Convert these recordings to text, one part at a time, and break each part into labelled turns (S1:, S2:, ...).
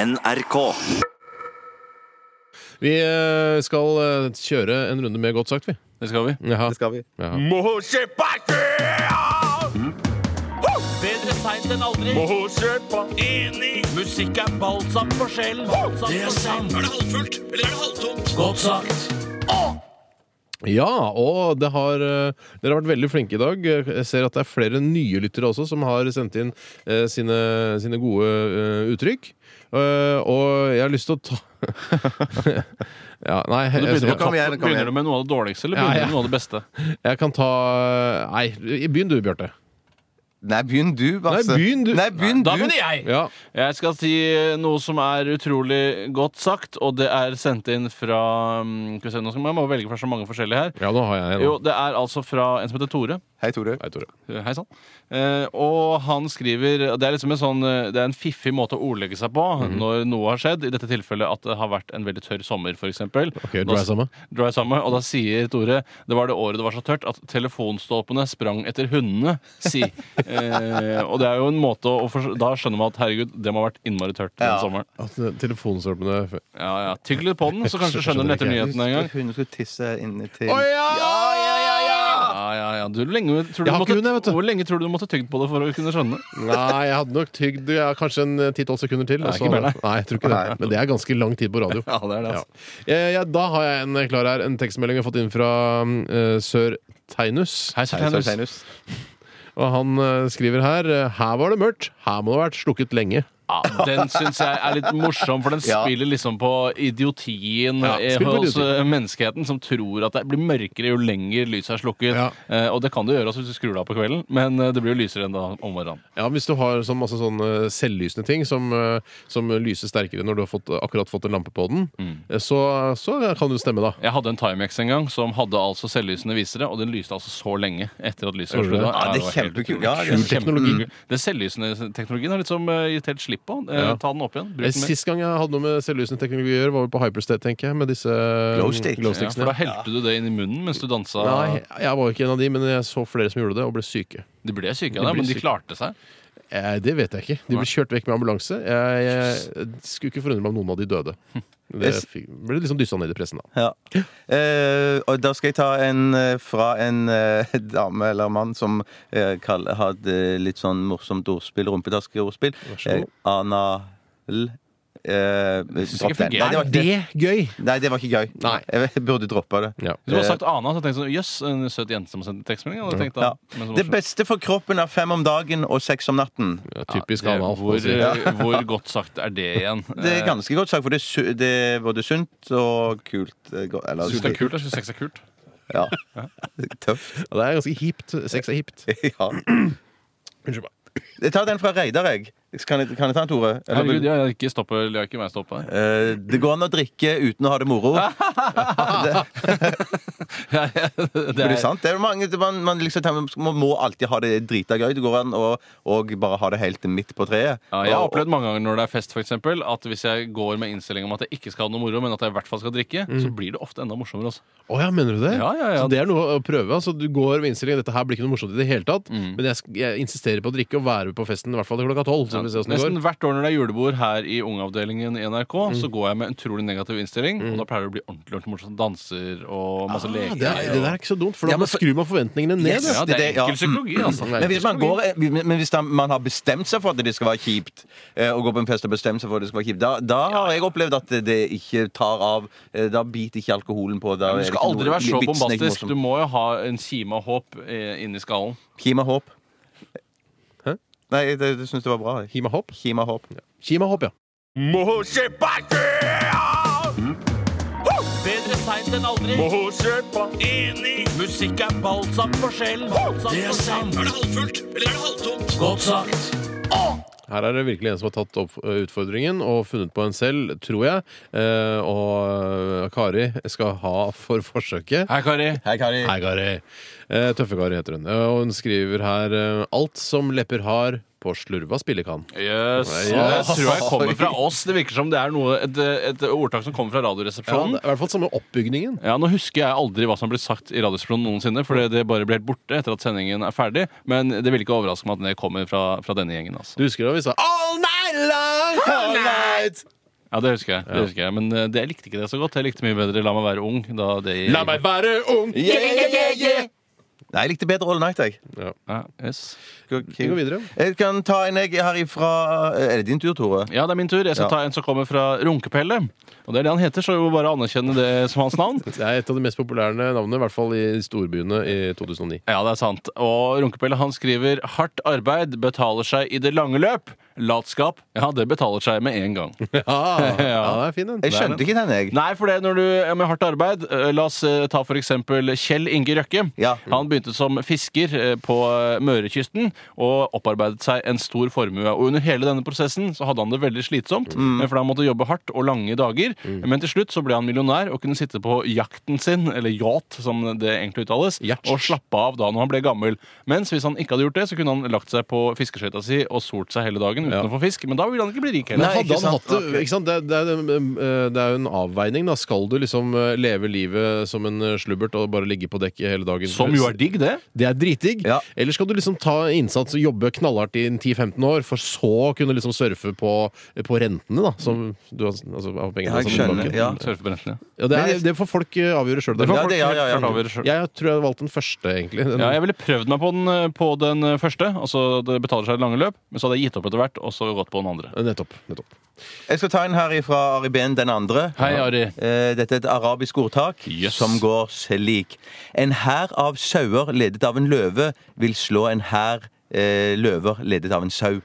S1: NRK.
S2: Vi eh, skal eh, kjøre en runde med Godt sagt, vi.
S3: Det skal vi.
S2: Jaha.
S4: Det skal vi.
S2: Jaha. Mm.
S5: Bedre seint enn aldri. Enig. Musikk er balsam for sjelen. Det er sant. Er det halvfullt, eller er det halvtomt? Godt sagt.
S2: Ja, og det har, eh, dere har vært veldig flinke i dag. Jeg ser at det er flere nye lyttere også som har sendt inn eh, sine, sine gode eh, uttrykk. Eh, og jeg har lyst til å ta ja, Nei, jeg,
S3: Du
S2: jeg,
S3: begynner, på
S4: Kom
S3: toppen.
S2: kan,
S4: igjen, kom
S3: begynner
S4: igjen.
S3: du med noe av det dårligste, eller
S2: Ja,
S3: begynner
S2: ja. Mm.
S3: du med noe av det beste?
S2: jeg kan ta eh, Nei, begynn du, Bjarte.
S4: Nei, begynn du, Basse.
S2: Nei, begynn du.
S4: Nei, begynn
S3: Da
S4: du.
S3: begynner jeg!
S2: Ja.
S3: Jeg skal si eh, noe som er utrolig godt sagt, og det er sendt inn fra mm, Skal vi se, nå skal man må velge fra så mange forskjellige her.
S2: ja, nå har jeg en.
S3: Jo, det er altså fra en som heter Tore.
S4: Hei, Tore.
S2: Nei, Tore.
S3: Hei sann. Eh, og han skriver Det er liksom en sånn eh, Det er en fiffig måte å ordlegge seg på
S2: Mhm.
S3: når noe har skjedd. I dette tilfellet at det har vært en veldig tørr sommer, f.eks.
S2: Ok, dry summer.
S3: dry summer. Og da sier Tore Det var det året det var så tørt at telefonstolpene sprang etter hundene, si. eh, og det er jo en måte å for, Da skjønner man at herregud, det må ha vært innmari tørt
S4: Ja.
S3: den sommeren.
S2: At eh, telefonstolpene
S3: Ja, ja. Tygg litt på den, så kanskje skjønner den etter
S2: Skjønner
S3: nyhetene en gang.
S4: Hun skulle tisse inne til
S2: Å ja!
S3: Ja, ja, ja. Du, hvor lenge, tror du
S2: Jeg har ikke
S3: måtte,
S2: hund, jeg, vet du.
S3: hvor lenge tror du du måtte tygd på det for å kunne skjønne?
S2: Nei, jeg hadde nok tygd ja, kanskje en eh, 10-12 sekunder til.
S3: Nei,
S2: og så-
S3: ikke mer, nei.
S2: jeg tror ikke det. Men det er ganske lang tid på radio.
S3: Ja, det er det, altså.
S2: Ja. Eh, ja, da har jeg en eh, klar her. En tekstmelding jeg har fått inn fra eh, Sør Teinus.
S3: Hei,
S4: Hei, Sir
S3: Sarteinus.
S4: Teinus.
S2: Og han eh, skriver her eh, Her var det mørkt. Her må det ha vært slukket lenge.
S3: Ja, den syns jeg er litt morsom, for den
S4: Ja.
S3: spiller liksom på idiotien
S2: Ja,
S3: eh,
S2: spiller på
S3: hos
S2: idioti.
S3: eh, menneskeheten, som tror at det blir mørkere jo lenger lyset er slukket.
S2: Ja.
S3: Eh, og det kan det gjøre også hvis du skrur det av på kvelden, men eh, det blir jo lysere enn da om morgenen.
S2: Ja, Hvis du har sånn masse sånne selvlysende ting som, eh, som lyser sterkere når du har fått, akkurat fått en lampe på den,
S3: Mm.
S2: eh, så, så kan det stemme, da.
S3: Jeg hadde en Timex en gang som hadde altså selvlysende visere, og den lyste altså så lenge etter at lyset var
S2: Gjorde det?
S3: sluttet.
S4: Ja, det er
S3: var helt
S4: kjempekult.
S3: utrolig.
S4: Ja, det er
S3: Kul
S2: kjempekult.
S3: teknologi. Den selvlysende teknologien har liksom eh, gitt helt slipp på. Eh,
S2: Ja.
S3: Ta den opp igjen.
S2: Eh,
S3: Bruk den mer.
S2: Sist gang jeg hadde noe med selvlysende teknologi å gjøre, var vel på Hyperstate, tenker jeg. Med disse eh,
S4: Glowsticks.
S3: Ja,
S2: glowsticksene.
S3: for da helte du det inn i munnen mens du dansa.
S2: Nei, jeg var ikke en av de, men jeg så flere som gjorde det og ble syke.
S3: De ble syke
S2: De
S3: av det,
S2: ble
S3: men de
S2: syke.
S3: klarte seg.
S2: Eh, det vet jeg ikke. De ble kjørt vekk med ambulanse. Jeg, jeg skulle ikke forundre meg om noen av de døde. Det
S4: Yes.
S2: fikk, ble liksom dyssa ned i pressen, da.
S4: Ja. Eh, og da skal jeg ta en eh, fra en eh, dame eller mann som eh, kall, hadde litt sånn morsomt ordspill, rumpetaskeordspill. Eh,
S2: så god.
S4: anal... Eh, dropp den.
S3: fungerer.
S4: Nei, det var ikke,
S2: gøy?
S4: nei, det var ikke gøy.
S2: Nei.
S4: Jeg burde droppa det.
S2: Ja.
S3: Hvis du hadde sagt Ana, så hadde jeg tenkt sånn Jøss, en søt jente som har sendt tekstmelding. Hadde jeg tenkt, da.
S4: Ja.
S3: Men så
S4: Det
S3: morsomt.
S4: beste for kroppen er fem om dagen og seks om natten.
S2: Ja, typisk
S3: Det-
S2: anal.
S3: Hvor, eh,
S2: Ja.
S3: hvor godt sagt er det igjen? Eh,
S4: Det er ganske godt sagt, for det er, su det er både sunt og kult. eh, go- Eller,
S3: Syns det er kult? Jeg syns sex er kult.
S4: Ja. Tøft.
S2: Ja, det er ganske hipt. Sex er hipt.
S4: Ja.
S2: Unnskyld meg.
S4: Jeg tar den fra Reidar, jeg. Kan jeg, kan jeg ta den, Tore? Eller vil-
S3: Herregud, jeg har ikke stoppet, jeg har ikke meg stoppet.
S4: Eh, det går an å drikke uten å ha det moro. Det
S3: Det
S4: er sant. Det er mange, det- man, man, liksom, tenker, man må alltid ha det drita gøy. Det går an å og bare ha det helt midt på treet.
S3: Ja, jeg har
S4: Og-
S3: opplevd mange ganger når det er fest, for eksempel, at hvis jeg går med innstilling om at jeg ikke skal ha noe moro, men at jeg i hvert fall skal drikke, så blir det ofte enda morsommere. altså. Også.
S2: Å ja, mener du det?
S3: Ja, ja, ja.
S2: Så det er noe å prøve. Altså, du går med innstillingen dette her blir ikke noe morsomt i det hele tatt, men jeg, sk- jeg insisterer på å drikke og være på festen i hvert fall til klokka tolv. Så får vi se hvordan det
S3: Nesten
S2: går.
S3: hvert år når det er julebord her i Ungeavdelingen i NRK, så går jeg med en utrolig negativ innstilling, og da pleier det å bli ordentlig ordentlig morsomt. Danser og
S2: Ah,
S3: masse leker.
S2: det, er, det der er ikke så dumt, for da
S4: Ja, men
S2: ja, skrur man forventningene ned.
S4: Yes.
S2: da.
S3: ja, det er
S4: det- ja.
S3: enkel psykologi, altså.
S2: Nei.
S4: men hvis, man går, men hvis da man har bestemt seg for at det skal være kjipt, eh, og går på en fest og bestemt seg for at det skal være kjipt, da, da har jeg opplevd at det ikke tar av. Eh, Da biter ikke alkoholen på. Da,
S3: Du
S4: er det
S3: skal
S4: ikke
S3: aldri
S4: noe-
S3: være så
S4: vitsen er ikke
S3: bombastisk.
S4: morsom.
S3: Du må jo ha en kime av håp eh, inni skallen.
S4: Kima håp.
S2: Hæ?
S4: Nei, jeg, jeg syns det var bra. jeg.
S2: Kima hopp.
S4: Kima håp.
S2: Kima hopp, ja.
S5: Bedre seint enn aldri. Enig. Musikk er balsam for sjelen. Det er sant. Er det halvfullt, eller er det halvtomt? Godt sagt.
S2: Her er det virkelig en som har tatt opp ø, utfordringen og funnet på en selv, tror jeg. Eh, og ø, Kari skal ha for forsøket.
S3: Hei, Kari.
S4: Hei, Kari.
S2: Hei, Kari. Eh, Tøffe-Kari heter hun. Eh, Og hun skriver her eh, Alt som lepper har, på slurva spille kan.
S3: Yes. Det tror jeg kommer fra oss. Det virker som det er noe, et, et ordtak som kommer fra
S2: Ja,
S3: Radioresepsjonen.
S2: det er I hvert fall samme oppbygningen.
S3: Ja, Nå husker jeg aldri hva som ble sagt i Radioresepsjonen noensinne, for det- det bare ble helt borte etter at sendingen er ferdig. Men det vil ikke overraske meg at det kommer fra, fra denne gjengen. altså.
S2: Du husker da vi sa 'All night'?
S4: lang all night.
S3: Ja, det husker jeg. Det husker jeg. Men eh, det, jeg likte ikke det så godt. Jeg likte mye bedre La meg være ung. Da det
S2: La meg være ung!
S4: Yeah, yeah, yeah, yeah. Nei, jeg likte bedre All Night, jeg.
S2: Ja.
S3: ja, yes.
S2: Vi går videre.
S4: Jeg kan ta en jeg her ifra eh, Er det din tur, Tore?
S3: ja, det er min tur. Jeg skal
S4: Ja.
S3: ta en som kommer fra Runkepelle. Og det er det han heter, så jeg må bare anerkjenne det som hans navn.
S2: Det er et av de mest populære navnene, i hvert fall i storbyene i 2009.
S3: Ja, det er sant. Og Runkepelle han skriver 'hardt arbeid betaler seg i det lange løp'. Latskap, ja, det betaler seg med en gang.
S2: Ja, ja det er fin den.
S4: Jeg skjønte ikke den, jeg.
S3: Nei, for det når du ja, med hardt arbeid eh, La oss eh, ta for eksempel Kjell Inge Røkke.
S4: Ja.
S3: Han begynte som fisker eh, på eh, Mørekysten og opparbeidet seg en stor formue. Og under hele denne prosessen så hadde han det veldig slitsomt, eh, for han måtte jobbe hardt og lange dager. Men til slutt så ble han millionær og kunne sitte på jakten sin, eller yacht som det egentlig uttales,
S2: Yacht.
S3: og slappe av da når han ble gammel. Mens hvis han ikke hadde gjort det, så kunne han lagt seg på fiskeskøyta si og solt seg hele dagen uten
S2: Ja.
S3: å få fisk. Men da ville han ikke bli rik
S2: Men
S4: Nei,
S3: heller.
S2: hadde
S4: ikke
S2: han
S4: sant?
S2: hatt det, ikke sant? Det, er- det, er, eh, det er jo en avveining. da Skal du liksom eh, leve livet som en eh, slubbert og bare ligge på dekk hele dagen?
S3: Som jo er digg, det.
S2: Det er dritdigg.
S4: Ja.
S2: Eller skal du liksom ta innsats og jobbe knallhardt i en 10-15 år, for så å kunne liksom surfe på, på rentene, da? Som du har, altså, av pengene
S4: Ja, jeg
S2: som
S4: skjønner,
S2: banken.
S4: ja.
S3: Surfebrentene.
S2: Ja, det,
S4: Men
S2: er,
S4: jeg-
S2: det får folk eh, avgjøre sjøl.
S4: får Ja, folk- det- ja, ja, ja.
S3: Klart avgjøre selv.
S2: Jeg tror jeg hadde valgt den første, egentlig. Den,
S3: Ja, jeg ville prøvd meg på den, eh, på den eh, første. Altså Det betaler seg i det lange løp. Men så hadde jeg gitt opp etter hvert, og så gått på den andre.
S2: Nettopp. nettopp.
S4: Jeg skal ta en her ifra Ari Behn, den andre.
S3: Hei, Ari.
S4: Eh, Dette er et arabisk ordtak
S3: Yes.
S4: som går slik. En hær av sauer ledet av en løve vil slå en hær eh, løver ledet av en sau.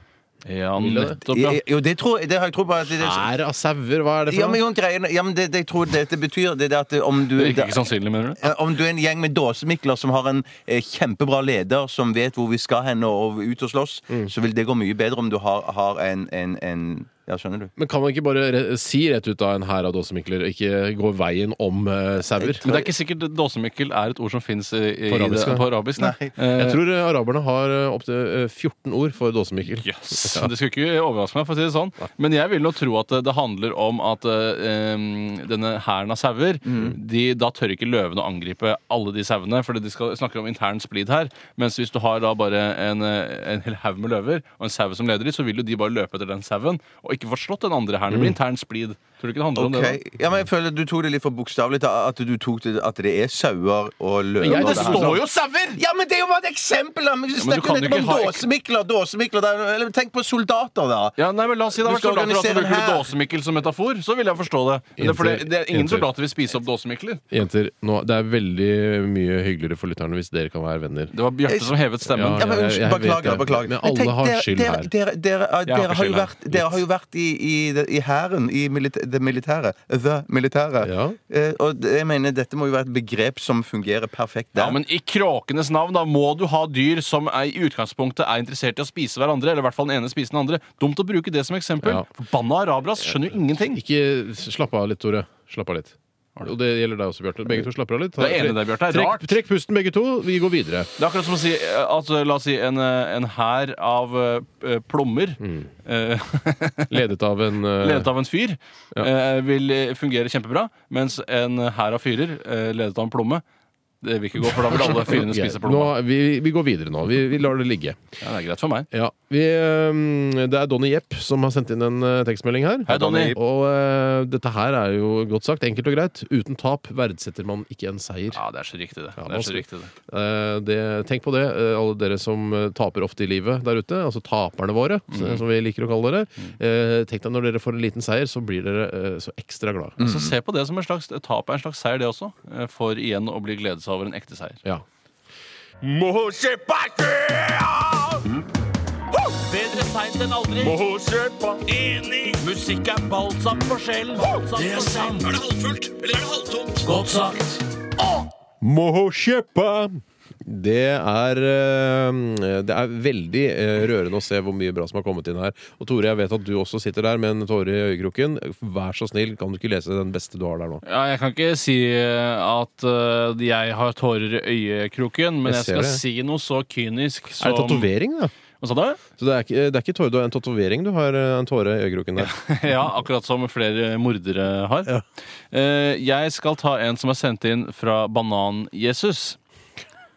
S3: Ja,
S2: Ville det?
S3: nettopp, ja.
S4: Jeg- Jo, det tror jeg. Det har jeg tro på. At det, det,
S2: Ære av sauer, hva er det for
S4: ja, men
S2: noe?
S4: jo, greien, ja, men det, det jeg tror dette betyr, det er at om du
S3: Det virker ikke sånn. sannsynlig, mener du?
S4: Eh, Om du er en gjeng med dåsemikler som har en eh, kjempebra leder som vet hvor vi skal hen og ut og slåss,
S3: Mm.
S4: så vil det gå mye bedre om du har, har en, en, en Ja, skjønner du?
S2: Men kan man ikke bare re si rett ut av en hær av dåsemikler, ikke gå veien om eh, sauer?
S3: Men det er ikke sikkert dåsemikkel er et ord som fins på,
S2: På arabisk, nei.
S3: på arabisk. Nei.
S2: Jeg tror eh, araberne har opptil 14 ord for dåsemikkel.
S3: Yes. Det skulle ikke overraske meg, for å si det sånn. Men jeg vil nå tro at det- det handler om at eh, em, denne hæren av sauer de, Da tør ikke løvene å angripe alle de sauene, for de skal snakker om intern splid her. Mens hvis du har da bare en, eh, en hel haug med løver og en sau som leder de, så vil jo de bare løpe etter den sauen og ikke få slått den andre hæren. Det blir intern splid. Tror du ikke det handler
S4: Ok,
S3: om Sånn det? da?
S4: ja, men jeg føler Du tok det litt for bokstavelig, da, at du tok det at det er sauer og løver.
S2: jeg-
S4: og
S2: det
S4: her.
S2: står
S3: jo sauer!
S4: Ja, men Det er jo bare et eksempel! da. Men Vi
S3: men du
S4: snakker
S3: kan
S4: jo
S3: jo
S4: nettopp om
S3: ikke ha-
S4: dåsemikler. dåsemikler det er- eller, tenk på soldater, da.
S3: Ja, nei, men La oss si det
S4: Du
S3: var
S4: skal
S3: soldater og at du
S4: organisere en
S3: bruker
S4: hær.
S3: dåsemikkel som metafor. Så vil jeg forstå det. Men det, er fordi
S2: Jenter,
S3: det er ingen
S2: jenter.
S3: soldater vil spise opp dåsemikler.
S2: Jenter, nå, det er veldig mye hyggeligere for lytterne hvis dere kan være venner.
S3: Det var Bjarte som hevet stemmen.
S2: Ja,
S4: Ja, men
S2: jeg-
S4: unnskyld,
S2: jeg vet
S4: Beklager.
S2: det.
S4: beklager.
S2: Men
S4: Men
S2: alle har
S4: dere-
S2: skyld
S4: dere,
S2: her.
S4: Dere, dere, eh,
S3: har
S4: dere,
S3: ikke
S4: har, jo
S3: skyld her.
S4: vært, dere har jo vært i, i, det- i hæren, i milit det militære. The militære.
S2: Ja.
S4: Eh, og det- jeg mener, dette må jo være et begrep som fungerer perfekt der.
S3: Ja, men I kråkenes navn da må du ha dyr som er, i utgangspunktet er interessert i å spise hverandre. Eller i hvert fall den ene spiser den andre. Dumt å bruke det som eksempel.
S2: Ja.
S3: Forbanna arabere ass, skjønner jo ingenting.
S2: Ikke Slapp av litt, Tore. Slapp av litt. Og det gjelder deg også, Bjarte. Begge to slapper av litt. Ta-
S3: Du er enig der, Bjarte. Det er
S2: Trekk,
S3: rart.
S2: trekk pusten, begge to. Vi går videre.
S3: Det er akkurat som å si eh, altså, La oss si en, eh, en hær av eh, plommer eh,
S2: Ledet av en eh,
S3: ledet av en fyr eh, vil eh, fungere kjempebra, mens en hær av fyrer eh, ledet av en plomme det vil ikke gå, for da vil alle fyrene
S2: Ok,
S3: spise
S2: nå,
S3: plomma.
S2: vi, vi går videre nå. Vi, vi lar det ligge.
S3: Ja, det er greit for meg.
S2: Ja, vi, eh, Det er Donny Jepp som har sendt inn en eh, tekstmelding her.
S3: Hei, Donny.
S2: Og eh, dette her er jo godt sagt. Enkelt og greit. Uten tap verdsetter man ikke en seier.
S3: Ja, det er så riktig, det.
S2: Ja,
S3: det, er så
S2: vanskelig.
S3: riktig, det.
S2: Eh, det, tenk på det, eh, alle dere som eh, taper ofte i livet der ute. Altså taperne våre, s-
S3: Mm.
S2: som vi liker å kalle dere. Eh, tenk deg når dere får en liten seier, så blir dere eh, så ekstra glad.
S3: Så se på det som en slags tap er en slags seier, det også. eh, For igjen å bli gledet seg over en ekte seier.
S2: Ja.
S5: Bedre seint enn aldri. Enig. Musikk er balsam for sjelen. Det er sant. Er det halvfullt, eller er det halvtomt? Godt sagt.
S2: Må kjøpe! Det er, eh, det er veldig eh, rørende å se hvor mye bra som har kommet inn her. Og Tore, jeg vet at du også sitter der med en tåre i øyekroken. Vær så snill, kan du ikke lese den beste du har der nå?
S3: Ja, jeg kan ikke si eh, at eh, jeg har tårer i øyekroken, men
S2: Jeg
S3: jeg,
S2: ser
S3: skal
S2: det.
S3: si noe så kynisk som
S2: Er det tatovering, da?
S3: Hva sa du?
S2: Så det er ikke, det er ikke tåre, du har en tatovering du har eh, en tåre i øyekroken der.
S3: ja, akkurat som flere mordere har. Eh, jeg skal ta en som er sendt inn fra Banan-Jesus.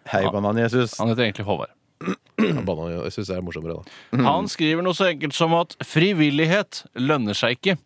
S4: Hei, Banan-Jesus.
S3: Han heter egentlig Håvard.
S2: Jeg banna, jeg syns det er morsommere, da.
S3: Han skriver noe så enkelt som at frivillighet lønner seg ikke.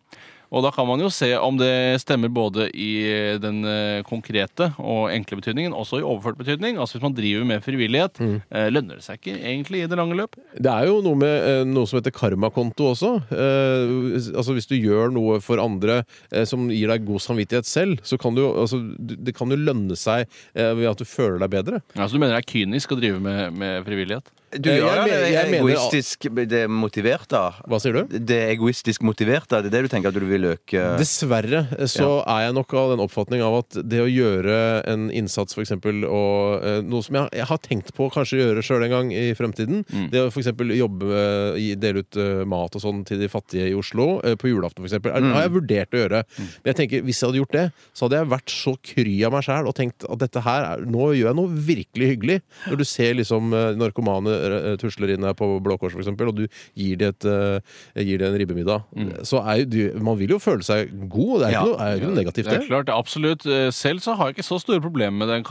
S3: Og da kan man jo se om det stemmer både i den eh, konkrete og enkle betydningen, også i overført betydning. Altså hvis man driver med frivillighet,
S2: Mm.
S3: eh, lønner det seg ikke egentlig i det lange løp.
S2: Det er jo noe med eh, noe som heter karmakonto også. Eh, altså Hvis du gjør noe for andre eh, som gir deg god samvittighet selv, så kan du jo altså, du- Det kan jo lønne seg eh, ved at du føler deg bedre.
S3: Altså du mener det er kynisk å drive med, med frivillighet?
S4: Du
S2: Eh,
S4: gjør
S2: jeg
S4: det,
S2: mener-
S4: det
S2: jeg
S4: er
S2: mener-
S4: egoistisk det er motivert, da.
S2: Hva sier du?
S4: Det er egoistisk motivert, da. Det er det du tenker at du vil øke
S2: Dessverre eh, så er jeg nok av den oppfatning av at det å gjøre en innsats, f.eks. og eh, noe som jeg, jeg har tenkt på å kanskje gjøre sjøl en gang i fremtiden Det å f.eks. jobbe med gi- dele ut eh, mat og sånn til de fattige i Oslo eh, på julaften, f.eks. Mm. har jeg vurdert å gjøre. Men jeg tenker, hvis jeg hadde gjort det, så hadde jeg vært så kry av meg sjæl og tenkt at dette her er, Nå gjør jeg noe virkelig hyggelig. Når du ser liksom eh, narkomane eh, tusler inn her på Blå Kors, f.eks., og du gir dem et eh, jeg gir det en ribbemiddag,
S3: Mm.
S2: så er jo du- Man vil jo føle seg god, det er jo
S4: Ja.
S2: ikke, noe- er jo ikke noe negativt,
S3: Det er
S2: det.
S3: klart, absolutt. Eh, Selv så har jeg ikke så store problemer med den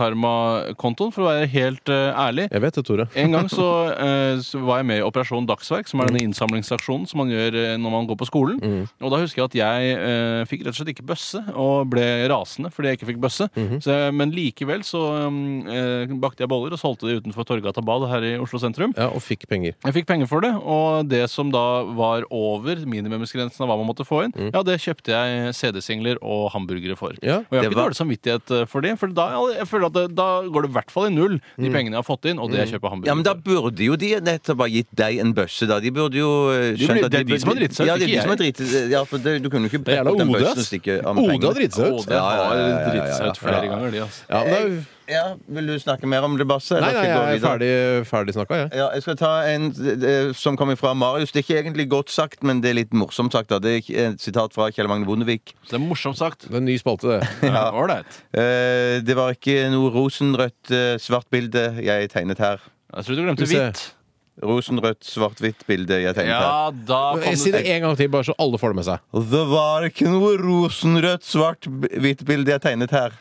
S3: karmakontoen, for å være helt eh, ærlig.
S2: Jeg vet det, Tore.
S3: En gang så, eh, så var jeg med i Operasjon Dagsverk, som er denne innsamlingsaksjonen som man gjør eh, når man går på skolen.
S4: Mm.
S3: Og da husker jeg at jeg eh, fikk rett og slett ikke bøsse, og ble rasende fordi jeg ikke fikk bøsse.
S4: Mm-hmm.
S3: så, jeg- men likevel så um, eh, bakte jeg boller og solgte de utenfor Torgata Bad her i Oslo sentrum.
S2: Ja, og fikk penger.
S3: Jeg fikk penger for det, og det som da var over minimumsgrensen av hva man måtte få inn,
S4: Mm.
S3: ja, det kjøpte jeg CD-singler og hamburgere for.
S2: Ja,
S3: og jeg har
S4: det
S3: ikke
S4: var-
S3: dårlig samvittighet eh, for det, for da, jeg føler at det, da går det i hvert fall i null, de pengene jeg har fått inn, og det jeg kjøper hamburgere
S4: Mm. Ja, men da
S3: for.
S4: burde jo de nettopp ha gitt deg en bøsse, da. De burde jo eh,
S3: De burde-
S4: skjønt at
S3: det er de som har dritt seg ut,
S4: Ja, det
S3: ikke
S4: er de
S3: jeg.
S4: som har dritt seg ut. Ja, for det, du kunne jo ikke
S2: Det er jævla
S4: plukket den
S2: Ode,
S4: bøssen og
S2: ass.
S4: stikke av med
S2: Ode har
S4: pengene.
S2: dritt seg
S3: Å,
S2: ut.
S4: Ja,
S3: det
S4: ja,
S3: har
S4: ja, ja, ja,
S3: dritt seg ut
S4: ja.
S3: flere ganger, de, altså.
S2: Ja, men det er,
S4: Ja, vil du snakke mer om det, Basse? eller
S2: nei, nei,
S4: skal gå
S2: jeg er
S4: videre?
S2: ferdig, ferdig snakka, jeg.
S4: Ja, jeg skal ta en eh, som kommer fra Marius. Det er ikke egentlig godt sagt, men det er litt morsomt sagt. Da. Det er ikke- et sitat fra Kjell Magne Bondevik.
S3: Det er morsomt sagt.
S2: Det er en ny spalte, det.
S3: Ja, Ålreit.
S4: Eh, det var ikke noe rosenrødt, eh, svart bilde jeg tegnet her.
S3: Jeg tror du glemte
S2: Skal vi se.
S3: hvitt.
S4: Rosenrødt, svart-hvitt bilde jeg tegnet her.
S3: Ja, da kan
S2: Jeg sier det
S3: du
S2: en gang til, bare så alle får det med seg.
S4: Det var ikke noe rosenrødt, svart-hvitt bilde jeg tegnet her.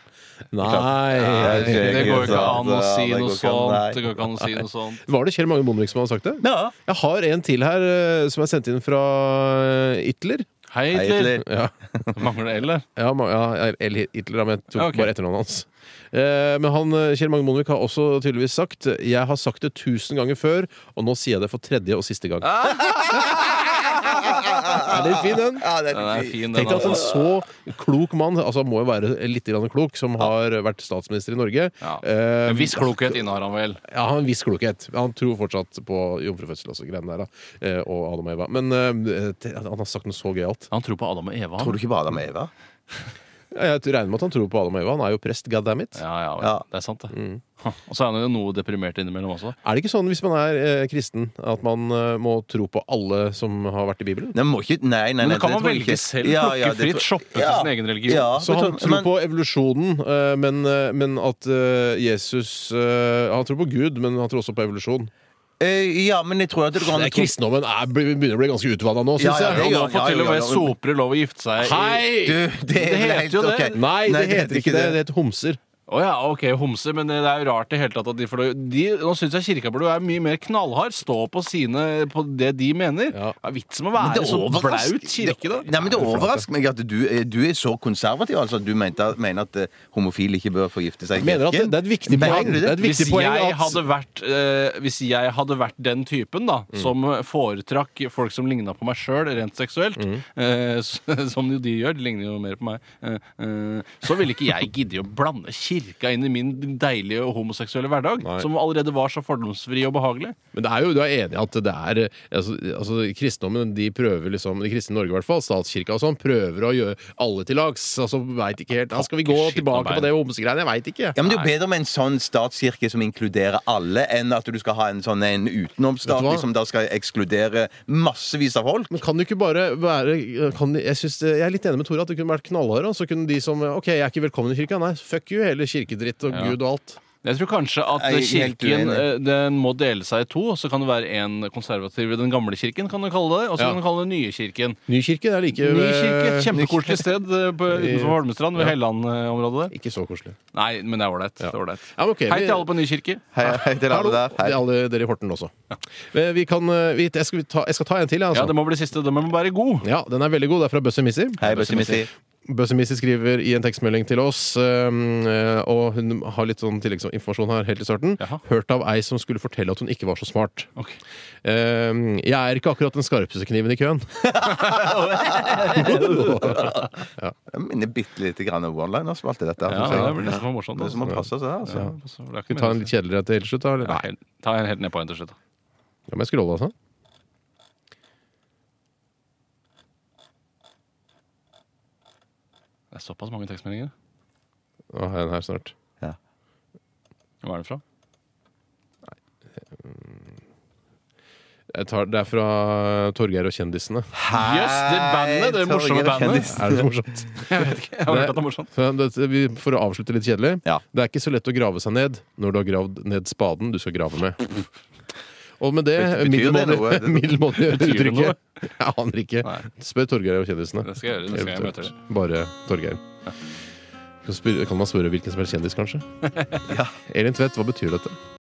S3: Nei,
S2: Nei.
S3: det altså. går jo ikke an å si
S4: Ja, altså. det går ikke an, nei.
S3: noe sånt. Det går ikke an å si noe sånt.
S2: Var det Kjell Magne Bondevik som hadde sagt det?
S4: Ja.
S2: Jeg har en til her eh, som er sendt inn fra Hitler.
S3: Hei,
S4: Hei,
S3: Hitler.
S4: Hitler.
S2: Ja.
S3: Mangler det L, der?
S2: Ja, ma- ja El Hitler, da, men jeg tok
S3: Ja, ok.
S2: bare etternavnet hans. Eh, men han, eh, Kjell Magne Bondevik har også tydeligvis sagt Jeg har sagt det tusen ganger før, og nå sier jeg det for tredje og siste gang. er det fin, den?
S4: Ja, det
S3: Den er fin,
S2: Tenk
S3: den.
S2: deg at en
S3: altså.
S2: så klok mann, altså han må jo være litt grann klok, som har vært statsminister i Norge
S3: Ja.
S2: eh,
S3: En viss klokhet innehar han vel.
S2: ja, han har en viss klokhet. Han tror fortsatt på jomfrufødsel og så greiene der, da. Eh, og Adam og Eva. Men eh, te- han har sagt noe så gøyalt.
S3: Han tror på Adam og Eva.
S4: Tror du
S3: Han.
S4: ikke på Adam og Eva?
S2: Ja, Jeg regner med at han tror på Adam og Eva. Han er jo prest, god damn it.
S3: Ja, ja, vel.
S4: Ja. Mm.
S3: Det er sant, det. Og så er han jo noe deprimert innimellom også.
S2: Er det ikke sånn hvis man er eh, kristen at man eh, må tro på alle som har vært i Bibelen?
S4: Nei, må ikke, nei, nei, nei
S3: Men kan
S4: det
S3: man
S4: tror jeg
S3: velge
S4: ikke.
S3: selv?
S4: Ja, ja, det
S3: Plukke
S4: tror-
S3: fritt? Shoppe til
S4: Ja.
S3: sin egen religion?
S4: Ja,
S2: Så han
S4: men-
S2: tror
S4: men-
S2: på evolusjonen, eh, men, eh, men at eh, Jesus eh, Han tror på Gud, men han tror også på evolusjon.
S4: Eh, Ja, men jeg tror at det går an
S2: Det
S4: å
S2: er kristendommen er, begynner å bli ganske utvanna nå,
S4: Ja,
S2: syns
S4: ja,
S2: jeg.
S4: det
S3: Og nå
S4: gjør-
S3: får
S4: ja,
S3: til og
S4: ja, ja,
S3: med
S4: men-
S3: sopere lov å gifte seg. i-
S2: Hei!
S4: Du, det, er
S3: Det heter
S4: helt,
S3: jo det.
S4: ok.
S2: Nei, det heter ikke det. Det heter homser.
S3: Å ja, ok, homse, men eh, det er jo rart i hele tatt at de får lov de, Nå syns jeg kirka burde være mye mer knallhard, stå på sine På det de mener.
S2: Ja.
S3: Det er vitsen
S4: Men
S3: med å være
S4: det
S2: sånn
S3: så
S4: overrasker-
S3: blaut kirke, da.
S4: Nei, men Det overrasker meg at du, er- du er så konservativ. Altså, at Du mente, mener at eh, homofile ikke bør få gifte seg. i
S2: Mener at det,
S4: kirken.
S2: det er et viktig
S4: Mener
S2: poeng.
S4: du
S2: Det er et
S3: Hvis
S2: viktig poeng at-
S3: jeg, hadde vært, eh, hvis jeg hadde vært den typen da
S2: Mm.
S3: som foretrakk folk som ligna på meg sjøl, rent seksuelt,
S2: Mm.
S3: eh, s- som jo de gjør, de ligner jo mer på meg, eh, eh, så ville ikke jeg gidde å blande kirka inn i min deilige homoseksuelle hverdag,
S2: Nei.
S3: som allerede var så fordomsfri og behagelig.
S2: Men det er jo, du er enig i at det er eh, altså, altså, Kristendommen, de prøver liksom De kristne i Norge, i hvert fall, statskirka og sånn, prøver å gjøre alle til lags. Altså, veit ikke helt ja, Skal vi gå
S3: Fucking shit,
S2: tilbake
S3: arbeid.
S2: på det homsegreiene? Jeg veit ikke.
S4: Ja, men Det er jo bedre med en sånn statskirke som inkluderer alle, enn at du skal ha en sånn en
S2: Vet du hva?
S4: utenomstatlig som da skal ekskludere massevis av folk.
S2: Men kan du ikke bare være kan, jeg, synes, jeg er litt enig med Tore at det kunne vært knallharde. og Så kunne de som OK, jeg er ikke velkommen i kirka. Nei, fuck you, hele kirkedritt og gud og alt.
S3: Jeg tror kanskje at
S4: Jeg er helt
S3: kirken
S4: uenig.
S3: eh, den må dele seg i to. Så kan det være en konservativ i den gamle kirken, kan du kalle det. Og så
S2: Ja.
S3: kan du kalle det nye kirken.
S2: Nykirke, det er like
S3: Ny
S2: ved-
S3: kirke, Kjempekoselig sted eh, på, utenfor Holmestrand, ved Helland-området der.
S2: Ikke så koselig.
S3: Nei, men det er ålreit. det er ålreit.
S2: Ja, men ok,
S3: Hei
S2: vi-
S3: til alle på Nykirke.
S4: Hei, hei til
S2: Hallo,
S4: alle der.
S2: det er
S4: Hei.
S2: alle dere i Horten også. Eh, Vi kan, eh, vi, jeg, skal ta, jeg skal ta en til, jeg,
S3: Ja,
S2: altså.
S3: det må bli siste. Den må være god.
S2: Ja, den er veldig god. Det er fra Bøsse Missi.
S4: Hei, Bøssimissi.
S2: Bøssemissi skriver i en tekstmelding til oss, ehm, eh, og hun har litt sånn tilleggsinformasjon her helt i starten.
S3: Jaha.
S2: Hørt av ei som skulle fortelle at hun ikke var så smart.
S3: Ok.
S2: Ehm, jeg er ikke akkurat den skarpeste kniven i køen.
S4: Jeg minner bitte lite grann om one-liners på alt det dette. her,
S3: Ja,
S4: synes jeg.
S2: sånn.
S3: det blir nesten for morsomt.
S4: Det er som
S3: altså.
S4: å passe seg, altså.
S3: Ja, altså, for det
S2: Skal
S3: er ikke
S2: vi ta en
S3: meningen.
S2: litt kjedeligere til helt slutt, da? eller?
S3: Ja, helt- Ta en helt ned på en til slutt, da.
S2: Ja, men jeg scroller, altså.
S3: Det er såpass mange tekstmeldinger.
S2: Nå har jeg den her snart.
S3: Hva er det fra?
S2: Jeg tar, det er fra Torgeir og kjendisene.
S4: Hei,
S3: Jøss, det bandet, det morsomme
S4: Torgeir
S3: bandet.
S4: Kjendis.
S2: Er det så morsomt?
S3: Jeg har hørt at det er morsomt.
S2: Så det- vi- For å avslutte litt kjedelig.
S4: sånn. Ja.
S2: Det er ikke så lett å grave seg ned når du har gravd ned spaden du skal grave med. Og med det
S4: Betyr det noe?
S2: middelmådige middelmådige
S3: Betyr det
S2: uttrykket
S3: noe?
S2: Jeg aner ikke.
S3: Nei.
S2: Spør Torgeir og kjendisene.
S3: Det skal jeg gjøre neste gang jeg møter
S2: Eventuelt. Bare Torgeir. Kan spør- Kan man spørre hvilken som helst kjendis, kanskje? Elin Tvedt, hva betyr dette?